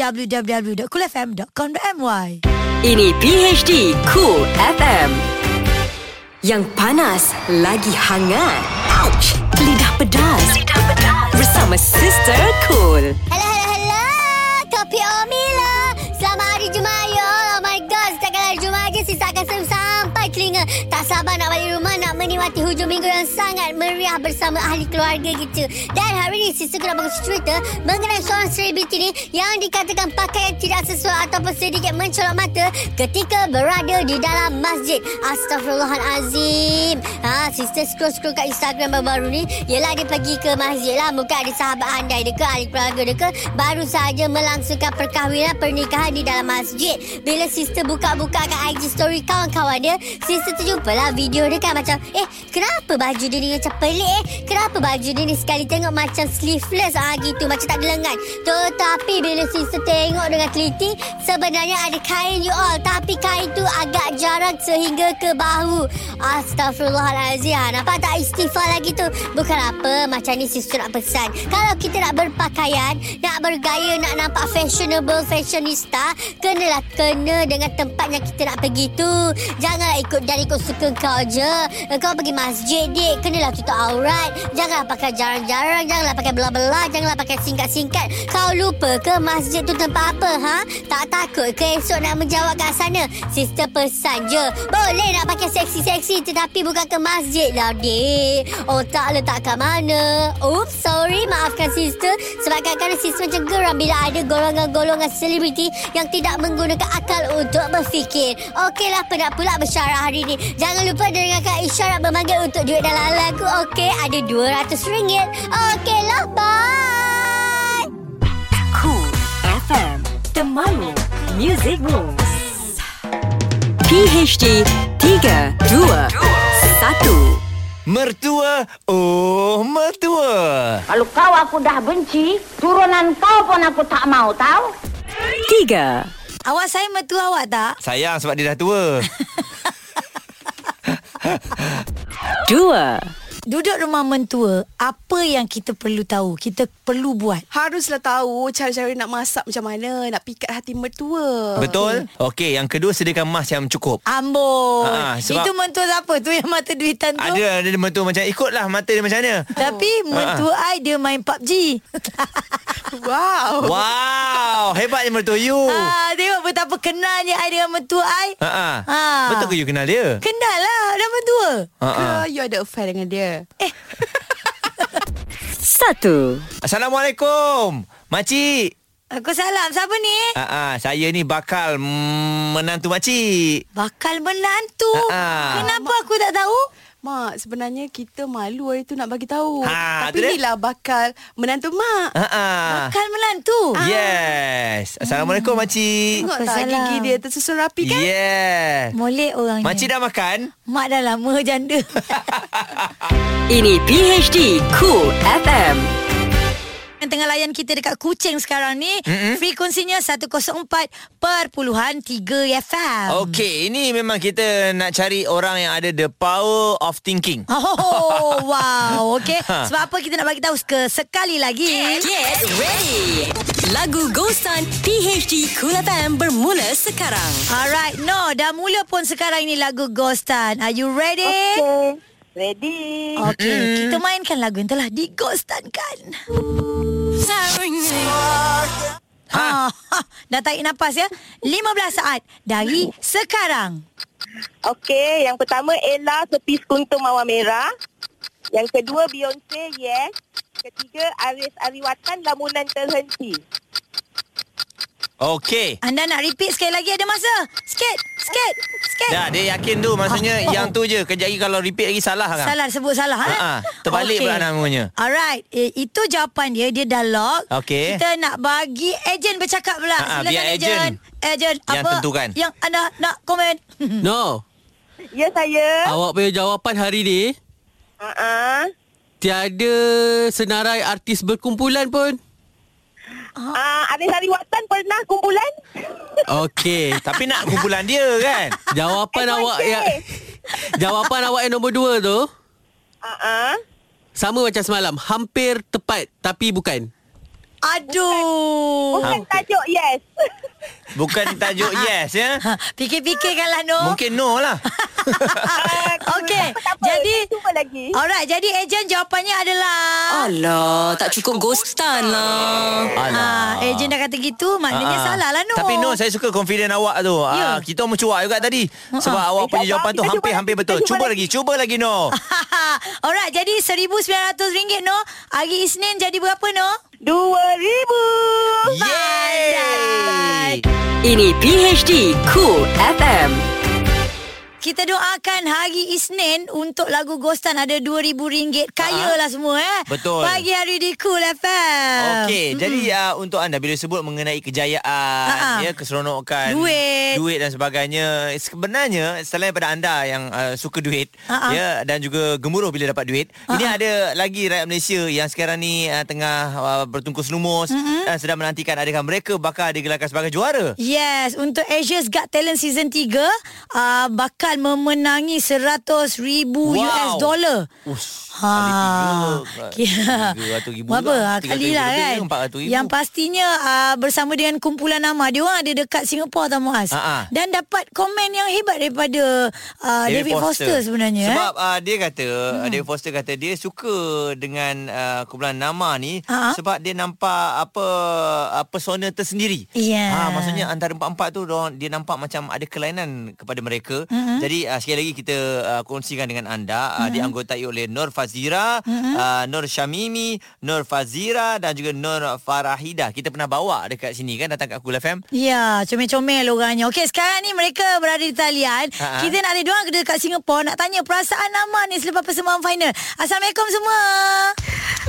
A: www.coolfm.com.my.
C: Ini PHD Cool FM. Yang panas lagi hangat. Ouch! Lidah pedas. Lidah pedas. Bersama Sister Cool.
G: Hello, hello, hello. Kopi Omila. Selamat hari Jumaya. Oh my God. Setakat hari Jumaat je, sisa akan seru sampai telinga. Tak sabar nak balik rumah, nak menikmati hujung minggu yang sangat meriah bersama ahli keluarga kita. Dan hari ini, sisa kena bagus cerita mengenai seorang selebriti ni yang dikatakan pakaian tidak sesuai ataupun sedikit mencolok mata ketika berada di dalam masjid. Astaghfirullahalazim. Ha, sister scroll-scroll kat Instagram baru-baru ni, ialah dia pergi ke masjid lah. Mungkin ada sahabat andai dia ke, ahli keluarga dia ke, baru sahaja melangsungkan perkahwinan pernikahan di dalam masjid. Bila sister buka-buka kat IG story kawan-kawan dia, si Sentiasa terjumpalah video dia kan Macam eh kenapa baju dia ni macam pelik eh Kenapa baju dia ni sekali tengok macam sleeveless ah gitu Macam tak ada lengan Tetapi bila sister tengok dengan teliti Sebenarnya ada kain you all Tapi kain tu agak jarang sehingga ke bahu Astaghfirullahalazim ah, Nampak tak istighfar lagi tu Bukan apa macam ni sister nak pesan Kalau kita nak berpakaian Nak bergaya nak nampak fashionable fashionista Kenalah kena dengan tempat yang kita nak pergi tu Janganlah ikut dan ikut suka kau je Kau pergi masjid dik Kenalah tutup aurat Janganlah pakai jarang-jarang Janganlah pakai belah-belah Janganlah pakai singkat-singkat Kau lupa ke masjid tu tempat apa ha? Tak takut ke esok nak menjawab kat sana Sister pesan je Boleh nak pakai seksi-seksi Tetapi bukan ke masjid lah dik Otak letak kat mana Oops sorry maafkan sister Sebab kadang-kadang sister macam geram Bila ada golongan-golongan selebriti Yang tidak menggunakan akal untuk berfikir Okeylah penat pula bersyarah hari ni Jangan lupa dengarkan isyarat memanggil Untuk duit dalam lagu Okey ada RM200 Okeylah bye
C: Cool FM Temanmu Music Moves PHD 3 2 1
B: Mertua, oh mertua.
H: Kalau kau aku dah benci, turunan kau pun aku tak mau tahu.
C: 3
A: Awak saya mertua awak tak?
B: Sayang sebab dia dah tua.
C: 2
A: Duduk rumah mentua, apa yang kita perlu tahu? Kita perlu buat.
I: Haruslah tahu cara-cara nak masak macam mana, nak pikat hati
A: Oh,
I: mertua.
B: Betul? Okey, yang kedua sediakan emas yang cukup.
A: Ambon.
B: Ah, ah, sebab-
A: Itu mentua siapa? Tu yang mata duitan tu.
B: Ada Ah, ada mentua macam ikutlah mata dia macam mana.
A: Tapi mentua I dia main PUBG.
I: Wow.
B: Wow, hebatnya mertua you.
A: Oh. ah, tengok betapa kenalnya I dengan mentua I.
B: Ha ah.
A: Ah.
B: Betul ke you kenal dia?
A: Kenal lah dah mentua. Eh,
B: Ha
I: Ke
B: ah.
I: you ada affair dengan dia?
C: 1
B: Assalamualaikum. Makcik.
A: Aku salam. Siapa ni?
B: Ha ah, saya ni bakal mm, menantu makcik.
A: Bakal menantu.
B: Ah.
A: Kenapa aku tak tahu?
I: Mak, sebenarnya kita malu hari tu nak bagi tahu.
B: Ha, tu
I: Tapi
B: dia.
I: inilah bakal menantu mak. Ah,
B: Ha ah.
A: Bakal Ah. menantu.
B: Yes. Assalamualaikum makcik.
I: Tengok
A: Apa
I: tak
A: salah?
I: gigi dia tersusun rapi kan?
B: Yeah.
A: Molek orangnya.
B: Makcik dah makan?
A: Mak dah lama janda.
C: Ini PHD Cool FM
A: yang tengah layan kita dekat Kuching sekarang ni mm-hmm. frekuensinya 104.3 FM.
B: Okey, ini memang kita nak cari orang yang ada the power of thinking.
A: Oh wow Okay
B: Ha.
A: Sebab apa kita nak bagi tahu ke Sekali lagi
C: Get ready Lagu Ghosan PHD Cool FM bermula sekarang
A: Alright No Dah mula pun sekarang ini Lagu Ghostan Are you ready?
H: Ready?
A: Okay mm. Kita mainkan lagu yang telah dighostankan ha. ha. Dah tarik nafas ya 15 saat Dari sekarang
H: Okey, yang pertama Ella tepi sekuntum mawar merah. Yang kedua Beyonce, yes. Ketiga Aris Ariwatan lamunan terhenti.
B: Okey.
A: Anda nak repeat sekali lagi Ada masa Sikit Sikit Sikit
B: Dah, dia yakin tu. Maksudnya
A: Ah, oh.
B: yang tu je. Kejap lagi kalau repeat lagi salah kan?
A: Salah sebut salah eh?
B: Ha, ha. Terbalik pula namanya.
A: Alright eh, Itu jawapan dia Dia dah lock
B: Okey.
A: Kita nak bagi ejen bercakap pula
B: Ha, ha,
A: Silakan
B: biar ejen.
A: ejen Ejen
B: Yang
A: apa
B: tentukan.
A: Yang anda nak komen
J: No,
H: Ya saya.
J: awak punya jawapan hari ni
H: Ha ah.
J: tiada senarai artis berkumpulan pun.
H: Ah, Aris Ariwatan pernah kumpulan?
J: Okey,
B: Tapi nak kumpulan dia kan?
J: jawapan awak yang jawapan awak yang nombor dua tu
H: Ha ah.
J: sama macam semalam, hampir tepat tapi bukan.
A: Aduh
H: Bukan tajuk yes.
B: Bukan tajuk yes ya.
A: ha, Fikir-fikirkanlah No
H: Oh.
B: Mungkin no lah.
A: Okey
H: Tak apa,
A: Jadi
H: tak cuba lagi.
A: Alright Jadi ejen jawapannya adalah
C: Alah tak cukup Ghostan lah
H: Ah,
A: Ha,
H: eh,
A: ejen dah kata gitu Maknanya
B: Ah.
A: salah lah No
B: Tapi no, saya suka confident awak tu.
A: Ya. Ah,
B: Yeah. kita mencuak juga tadi. Sebab awak
H: Eh,
B: punya
H: tak
B: jawapan
H: apa,
B: tu
H: kita cuba
B: hampir-hampir
H: lagi,
B: betul.
H: kita
B: Cuba
H: cuba
B: lagi, cuba lagi no.
A: Alright Jadi RM1,900 no Hari Isnin jadi berapa no?
H: Dua ribu.
B: Yeay!
C: Ini PHD Cool FM
A: Kita doakan hari Isnin untuk lagu Ghostan ada RM2,000. Kaya lah semua eh.
B: Betul.
A: Pagi hari di Cool FM.
B: Okey, mm-hmm. jadi uh, untuk anda bila sebut mengenai kejayaan,
A: Ha-ha.
B: ya
A: Ah,
B: keseronokan,
A: Duit.
B: duit dan sebagainya, sebenarnya selain daripada anda yang uh, suka duit,
A: Ha-ha.
B: ya dan juga gemuruh bila dapat duit,
A: Ah,
B: ini ada lagi rakyat Malaysia yang sekarang ni uh, tengah uh, bertungkus lumus mm-hmm. dan sedang menantikan adakah mereka bakal digelarkan sebagai juara.
A: Yes, untuk Asia's Got Talent Season 3 uh, bakal memenangi 100 ribu
B: Wow.
A: US dollar.
B: Ush,
A: Ha.
B: kali tiga,
A: Ya.
B: RM300,000
A: Berapa?
B: lah,
A: Ah, Kali lah kan.
B: RM300,000 ke RM400,000?
A: Yang pastinya uh, bersama dengan kumpulan nama dia orang ada dekat Singapura tau Muaz.
B: Ha, ha.
A: Dan dapat komen yang hebat daripada uh, David, Foster. sebenarnya.
B: Sebab
A: eh.
B: uh, dia kata hmm. David Foster kata dia suka dengan uh, kumpulan Nama ni
A: Ha?
B: sebab dia nampak apa uh, persona tersendiri.
A: Ya.
B: Ah maksudnya antara empat-empat tu dorang, dia nampak macam ada kelainan kepada mereka.
A: Hmm.
B: Mm-hmm. Jadi uh, sekali lagi kita uh, kongsikan dengan anda mm-hmm. uh, dianggotai oleh Nur Fazira,
A: Hmm.
B: mm-hmm. uh, Nur Syamimi, Nur Fazira dan juga Nur Farahida. Kita pernah bawa dekat sini kan datang kat Kul FM.
A: Ya, comel-comel orangnya. Okey, sekarang ni mereka berada di talian.
B: Ha, ha.
A: Kita nak ada diorang dekat Singapura nak tanya perasaan nama ni selepas persembahan final. Assalamualaikum semua.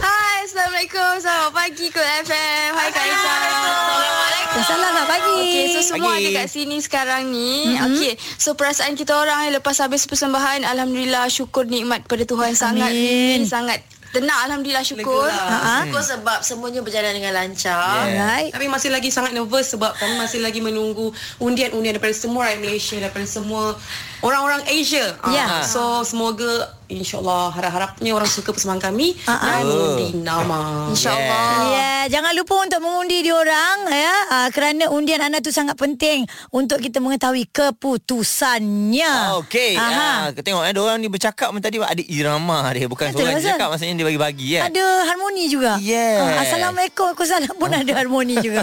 I: Hai, Assalamualaikum. Selamat pagi Kul FM. Hai Kak Aisyah. Assalamualaikum.
A: Selamat pagi.
I: Okey, so semua
B: Pagi.
I: ada kat sini sekarang ni. Mm-hmm. Okey, so perasaan kita orang eh, lepas habis persembahan, Alhamdulillah syukur nikmat pada Tuhan sangat.
A: Amin.
I: Sangat tenang Alhamdulillah syukur.
A: Ha-ha.
K: Ha, Syukur sebab semuanya berjalan dengan lancar.
B: Yeah.
A: Ha. Alright.
K: Kami masih lagi sangat nervous sebab kami masih lagi menunggu undian-undian daripada semua rakyat Malaysia, daripada semua orang-orang Asia. Ah,
A: Ya.
K: so semoga insyaAllah harap-harapnya orang suka persembahan kami
A: Ah, ah.
K: dan
B: Oh.
K: undi nama.
B: Yeah.
A: Ya, yeah, jangan lupa untuk mengundi diorang ya uh, kerana undian anda tu sangat penting untuk kita mengetahui keputusannya.
B: Okey. Ah,
A: Aha.
B: tengok eh orang ni bercakap macam tadi ada irama dia bukan
A: Betul,
B: seorang
A: Azan.
B: cakap maksudnya dia bagi-bagi kan.
A: Ada harmoni juga.
B: Yes.
A: Ah, Assalamualaikum. Aku salam pun ada harmoni juga.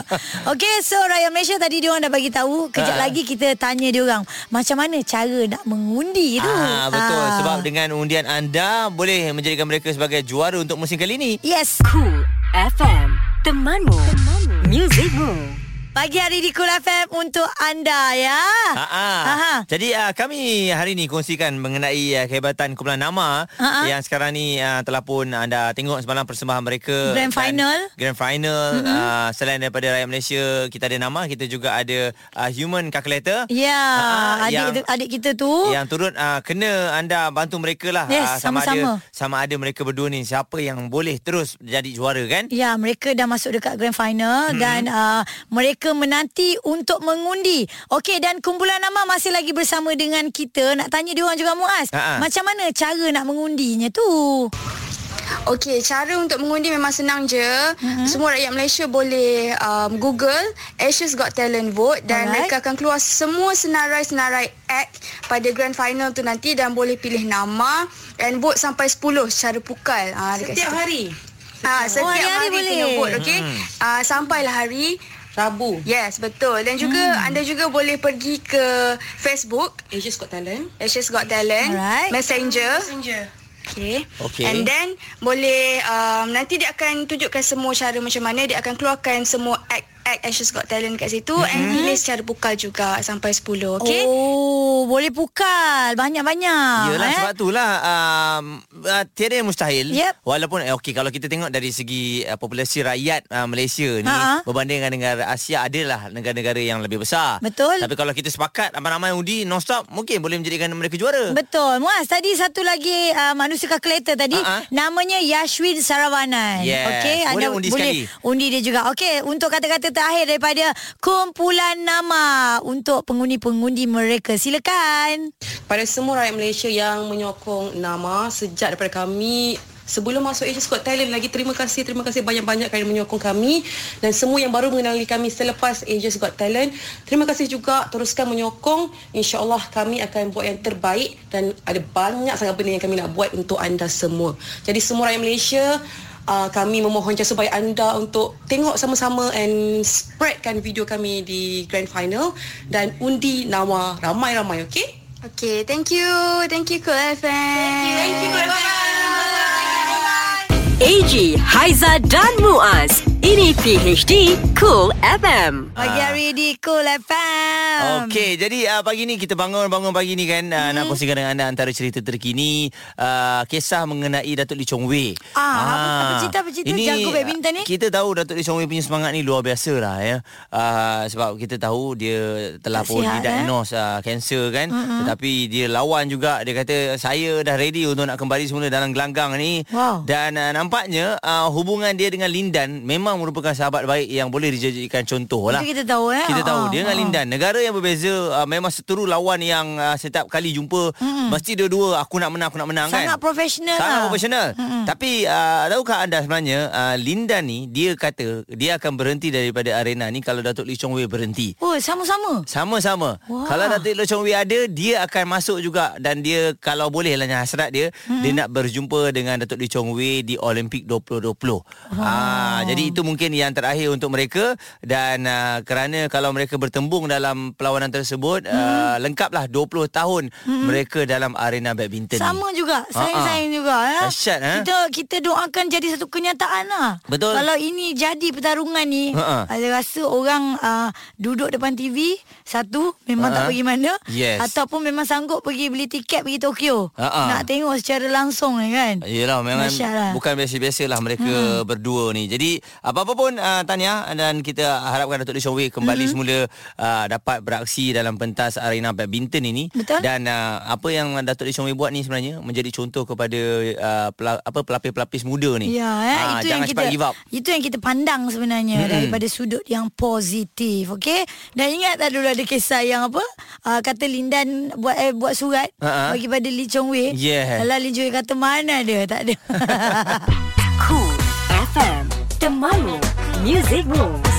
A: Okey, so rakyat Malaysia tadi diorang dah bagi tahu. Kejap
B: Ah.
A: lagi kita tanya diorang macam mana cara nak mengundi tu.
B: Ah betul ah. sebab dengan undian anda boleh menjadikan mereka sebagai juara untuk musim kali ni.
A: Yes.
C: Cool FM. Temanmu. Temanmu. Musicmu.
A: Pagi hari di Kul FM untuk anda ya.
B: Ha
A: Aha.
B: ah. Jadi uh, kami hari ni kongsikan mengenai uh, kehebatan kumpulan nama
A: Ha-ha.
B: yang sekarang ni uh, telah pun anda tengok semalam persembahan mereka
A: Grand
B: dan
A: final.
B: Grand final mm-hmm. uh, selain daripada rakyat Malaysia kita ada nama kita juga ada uh, human calculator.
A: Ya, adik
B: Ah, yang-
A: tu- adik kita tu.
B: yang turut uh, kena anda bantu mereka
A: Oh.
B: lah
A: Yes,
B: Ah, sama
A: sama-sama.
B: ada sama ada mereka berdua ni siapa yang boleh terus jadi juara kan
A: Ya, mereka dah masuk dekat grand final hmm.
B: Mm-hmm.
A: dan uh, mereka menanti untuk mengundi. Okey, dan kumpulan nama masih lagi bersama dengan kita. Nak tanya diorang juga Muaz,
B: Ha-ha.
A: macam mana cara nak mengundinya tu?
I: Okey, cara untuk mengundi memang senang je. Mm-hmm. Semua rakyat Malaysia boleh um, Google Asia's Got Talent Vote
A: Alright.
I: dan Alright. mereka akan keluar semua senarai-senarai act pada grand final tu nanti dan boleh pilih nama and vote sampai 10 secara pukal. Ah dekat
K: Setiap
I: situ.
K: hari
I: Ah setiap
A: hari
I: hari,
A: boleh.
I: kena vote, okey? Ah sampailah hari
K: Rabu
I: Yes, betul. Dan juga hmm. anda juga boleh pergi ke Facebook
K: Asia's Got Talent.
I: Asia's Got Talent
A: Alright.
I: Messenger
K: Messenger.
I: Okay.
B: Okey.
I: And then boleh um, nanti dia akan tunjukkan semua cara macam mana dia akan keluarkan semua act act Asia's Got Talent kat situ mm-hmm. and pilih secara pukal juga sampai 10, okay?
A: Oh, boleh pukal banyak-banyak.
B: Yelah
A: eh?
B: sebab itulah um, uh, tiada yang mustahil
A: Yep.
B: walaupun eh, okey kalau kita tengok dari segi uh, populasi rakyat uh, Malaysia ni
A: Ha-ha.
B: berbanding dengan negara Asia adalah negara-negara yang lebih besar.
A: Betul.
B: Tapi kalau kita sepakat ramai-ramai undi non-stop mungkin boleh menjadikan mereka juara.
A: Betul. Muaz, tadi satu lagi uh, manusia kalkulator tadi
B: Ha-ha.
A: uh-huh. namanya Yashwin Saravanan.
B: Ha, Yes.
A: Okey,
B: Boleh
A: anda
B: undi
A: boleh
B: sekali.
A: undi dia juga. Okey, untuk kata-kata terakhir daripada kumpulan nama untuk pengundi-pengundi mereka. Silakan.
K: Pada semua rakyat Malaysia yang menyokong nama sejak daripada kami sebelum masuk Asia's Got Talent lagi terima kasih terima kasih banyak-banyak kerana menyokong kami dan semua yang baru mengenali kami selepas Asia's Got Talent terima kasih juga teruskan menyokong insyaallah kami akan buat yang terbaik dan ada banyak sangat benda yang kami nak buat untuk anda semua jadi semua rakyat Malaysia Uh, kami memohon jasa baik anda untuk tengok sama-sama and spreadkan video kami di grand final dan undi nama ramai-ramai okey
I: Okay, thank you. Thank you Cool FM. Thank you. Thank you. Bye-bye.
C: AG, Haiza dan Muaz. Ini PHD Cool FM.
A: Pagi hari di Cool FM.
B: Okey, jadi uh, pagi ni kita bangun-bangun pagi ni kan
A: Mm-hmm.
B: uh, nak kongsikan dengan anda antara cerita terkini uh, kisah mengenai Datuk Lee Chong Wei.
A: Ah, apa- apa cerita- apa cerita
B: Ini,
A: jago badminton ni?
B: uh, Kita tahu Datuk Lee Chong Wei punya semangat ni luar biasa lah ya. Uh, sebab kita tahu dia telah
A: Tak
B: pun
A: sihat, eh?
B: didiagnose uh, kanser kan.
A: Mm-mm.
B: Tetapi dia lawan juga dia kata saya dah ready untuk nak kembali semula dalam gelanggang ni.
A: Wow.
B: Dan uh, nampaknya uh, hubungan dia dengan Lindan memang merupakan sahabat baik yang boleh dijadikan contoh lah.
A: Itu kita tahu eh.
B: Kita tahu
A: Ah,
B: dia dengan
A: ah.
B: Lindan negara yang berbeza uh, memang seteru lawan yang uh, setiap kali jumpa
A: Mm-mm.
B: mesti dua-dua aku nak menang aku nak menang
A: Sangat
B: kan.
A: profesional
B: Sangat
A: lah.
B: profesional.
A: Mm-mm.
B: Tapi uh, tahukah anda sebenarnya uh, Lindan ni dia kata dia akan berhenti daripada arena ni kalau Datuk Lee Chong Wei berhenti.
A: Oh, sama-sama.
B: Sama-sama.
A: Wah.
B: Kalau Datuk Lee Chong Wei ada, dia akan masuk juga dan dia kalau boleh lah hasrat dia, dia nak berjumpa dengan Datuk Lee Chong Wei di Olimpik 2020. Ah, jadi itu mungkin yang terakhir untuk mereka dan ah, kerana kalau mereka bertembung dalam perlawanan tersebut, ah, lengkaplah 20 tahun mereka dalam arena badminton. ni.
A: Sama juga. Sayang-sayang
B: Ah, ah.
A: juga ya.
B: Dahsyat, eh?
A: Kita kita doakan jadi satu kenyataan lah.
B: Betul.
A: Kalau ini jadi pertarungan ni,
B: Ha, ha.
A: saya rasa orang uh, duduk depan TV satu memang
B: Ha,
A: tak
B: ha.
A: pergi mana
B: Yes.
A: ataupun memang sanggup pergi beli tiket pergi Tokyo.
B: Ha, Ya, ha.
A: Nak tengok secara langsung ni kan.
B: Yelah memang
A: Dahsyat lah.
B: bukan biasa-biasalah mereka hmm. berdua ni. Jadi apa-apa pun uh, Tania dan kita harapkan Datuk Lee Chong Wei kembali hmm. semula uh, dapat beraksi dalam pentas arena badminton ini
A: Betul.
B: dan uh, apa yang Datuk Lee Chong Wei buat ni sebenarnya menjadi contoh kepada uh, pela- apa pelapis-pelapis muda ni.
A: Ya, eh,
B: Ah,
A: itu yang
B: jangan
A: kita
B: cepat give up.
A: itu yang kita pandang sebenarnya
B: Mm-mm.
A: daripada sudut yang positif, okey? Dan ingat tak dulu ada kisah yang apa? Uh, kata Lindan buat eh, buat surat
B: Ha, ha.
A: bagi pada Lee Chong Wei.
B: Yeah.
A: Alah Lee Chong Wei kata mana ada? Tak ada.
C: Cool FM. Temanmu. Music Rules.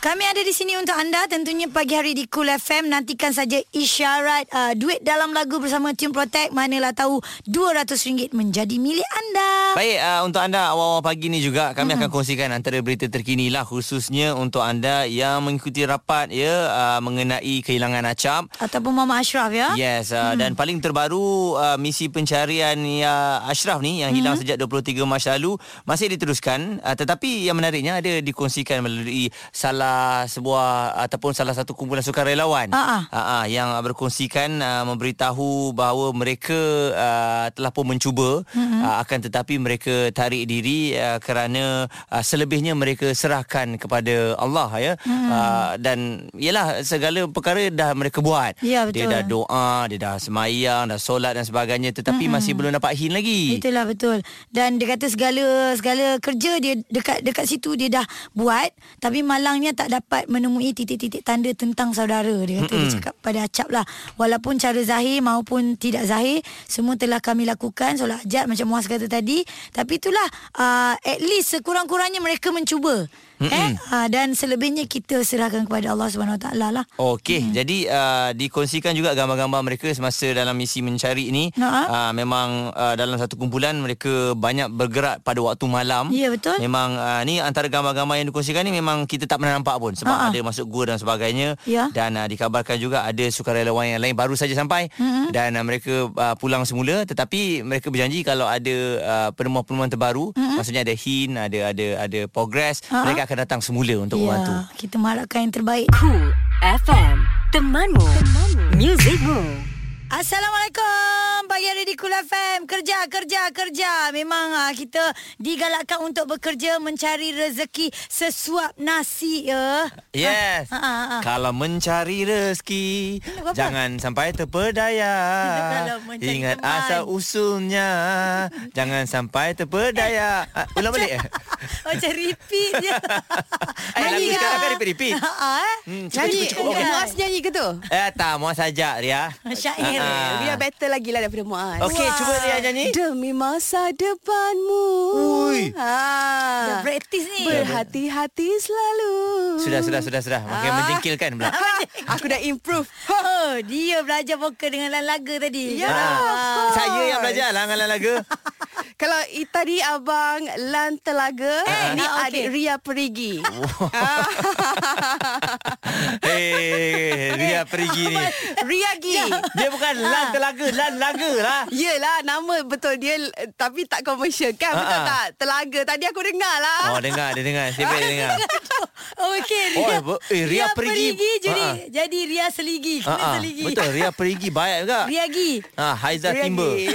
A: Kami ada di sini untuk anda tentunya pagi hari di Cool FM nantikan saja isyarat uh, duit dalam lagu bersama Tune Protect manalah tahu RM200 menjadi milik anda.
B: Baik, uh, untuk anda awal-awal pagi ni juga kami
A: Hmm.
B: akan kongsikan antara berita terkini lah khususnya untuk anda yang mengikuti rapat ya uh, mengenai kehilangan acap.
A: Ataupun Mama Ashraf ya.
B: Yes, uh, hmm. dan paling terbaru uh, misi pencarian ya Ashraf ni
A: Hmm.
B: yang hilang sejak 23 Mac lalu masih diteruskan uh, tetapi yang menariknya ada dikongsikan melalui salah sebuah ataupun salah satu kumpulan sukarelawan
A: Ah, ah.
B: uh, yang berkongsikan uh, memberitahu bahawa mereka uh, telah pun mencuba hmm. uh, akan tetapi mereka tarik diri uh, kerana uh, selebihnya mereka serahkan kepada Allah ya hmm. uh, dan ialah segala perkara dah mereka buat
A: Ya, betul.
B: dia dah doa, dia dah semayang, dah solat dan sebagainya tetapi mm-hmm. masih belum dapat hin lagi.
A: Itulah betul. Dan dia kata segala segala kerja dia dekat dekat situ dia dah buat tapi malangnya tak dapat menemui titik-titik tanda tentang saudara. Dia kata mm dia cakap pada Acap lah. Walaupun cara zahir maupun tidak zahir semua telah kami lakukan solat hajat macam Muaz kata tadi tapi itulah uh, at least sekurang-kurangnya mereka mencuba. Mm-mm. Eh uh, dan selebihnya kita serahkan kepada Allah Subhanahu Wa Taala lah.
B: Okey, hmm. jadi uh, dikongsikan juga gambar-gambar mereka semasa dalam misi mencari ini.
A: Ha.
B: Uh, memang uh, dalam satu kumpulan mereka banyak bergerak pada waktu malam.
A: Ya, betul.
B: Memang uh, ni antara gambar-gambar yang dikongsikan ni memang kita tak pernah nampak pun sebab
A: Ha, ha.
B: ada masuk gua dan sebagainya
A: Ya.
B: dan uh, dikabarkan juga ada sukarelawan yang lain baru saja sampai
A: Mm-mm.
B: dan uh, mereka uh, pulang semula tetapi mereka berjanji kalau ada uh, penemuan-penemuan terbaru
A: Hmm.
B: maksudnya ada hin, ada ada ada progress,
A: Ha, ha.
B: mereka akan datang semula untuk membantu.
A: Ya, kita mengharapkan yang terbaik.
C: Cool FM. Temanmu. Temanmu. Music Room.
A: Assalamualaikum Pagi hari di Kul FM Kerja, kerja, kerja Memang ah, kita digalakkan untuk bekerja Mencari rezeki sesuap nasi ya
B: Yes.
A: Ah, ah, ah.
B: Kalau mencari rezeki
A: Apa-apa?
B: jangan sampai terpedaya.
A: Kalau mencari
B: Ingat
A: teman.
B: asal usulnya. jangan sampai terpedaya. Ah, ulang balik. eh?
A: Macam repeat je
B: Eh, lagu
A: Nyanyi
B: sekarang
A: ke?
B: kan repeat-repeat.
A: Ah, ah, eh?
B: Hmm, cukup,
A: Nyanyi,
B: cukup, cukup. Okey.
A: Muaz
K: nyanyi ke tu?
B: Eh, tak mau saja Ria.
A: Syair
B: Ah, ah.
K: Dia better lagi lah daripada Muaz.
B: Okey, cuba Ria nyanyi.
C: Eh?
K: Demi masa depanmu.
B: Ui.
L: Ya.
A: Dah
K: Ha.
A: Praktis Ah, ni
K: Berhati-hati selalu.
B: Sudah, sudah, sudah, sudah. Makin
K: Ah.
B: menjengkelkan pula.
K: Aku dah improve.
A: Oh, dia belajar vokal dengan lagu tadi
K: Ya.
B: Ah,
K: of course.
B: Saya yang belajar lah dengan lagu.
L: Kalau i- tadi abang Lan Telaga,
B: Eh,
L: ni
B: ah,
L: adik Ria Perigi.
A: Ah.
B: Eh, Ria pergi ni.
L: Ria Gi.
A: Ya.
B: Dia bukan Lan Telaga, Lan Laga lah.
L: Yelah, nama betul dia eh, tapi tak komersial kan? Betul
B: Ah, ah.
L: tak? Telaga. Tadi aku dengar
A: Ya.
L: lah.
B: Oh, dengar, dia dengar. Sibuk dia dengar.
A: Okey,
B: Oh,
A: Ria.
B: ber- eh, Ria perigi.
A: jadi
B: Ha, ha.
A: jadi Ria seligi, kena
B: Ah, ah.
A: seligi.
B: Betul, Ria pergi baik juga.
A: Ria gi.
B: Ah, Haiza
A: Ria
B: Timber.
A: gi.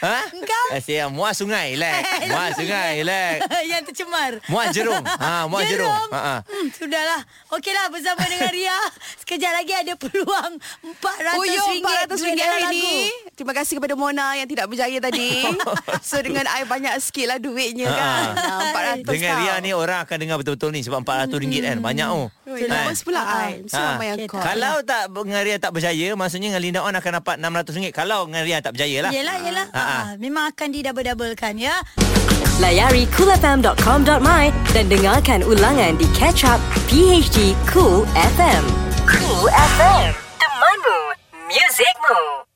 B: Ha?
A: Engkau?
B: Eh, saya muas sungai, relax.
A: Eh,
B: Muas sungai, relax.
A: Yang tercemar.
B: Muat jerung. Ha, muat jerung. Ha, ha.
A: Hmm, sudahlah. Okeylah bersama dengan Ria. Sekejap lagi ada peluang RM400
L: Puyuh RM400
A: duit dalam
L: hari
A: lagu.
L: ni Terima kasih kepada Mona Yang tidak berjaya tadi So dengan I banyak sikit lah
A: Ya
L: duitnya kan ah, RM400
B: Dengan Ria ni orang akan dengar betul-betul ni sebab RM400 ringgit kan. Banyak oh.
L: Lama sebelah I
B: Ha.
L: Semua yang kau
B: Kalau tak dengan Ria tak berjaya Maksudnya dengan Linda On akan dapat RM600 Kalau dengan Ria tak berjaya lah
A: Yelah, yelah.
B: ha. ha.
A: Ha, memang akan didouble-doublekan ya.
C: Layari coolfm.com.my dan dengarkan ulangan di Catch Up PHD Cool FM. Cool FM. Temanmu. Muzikmu.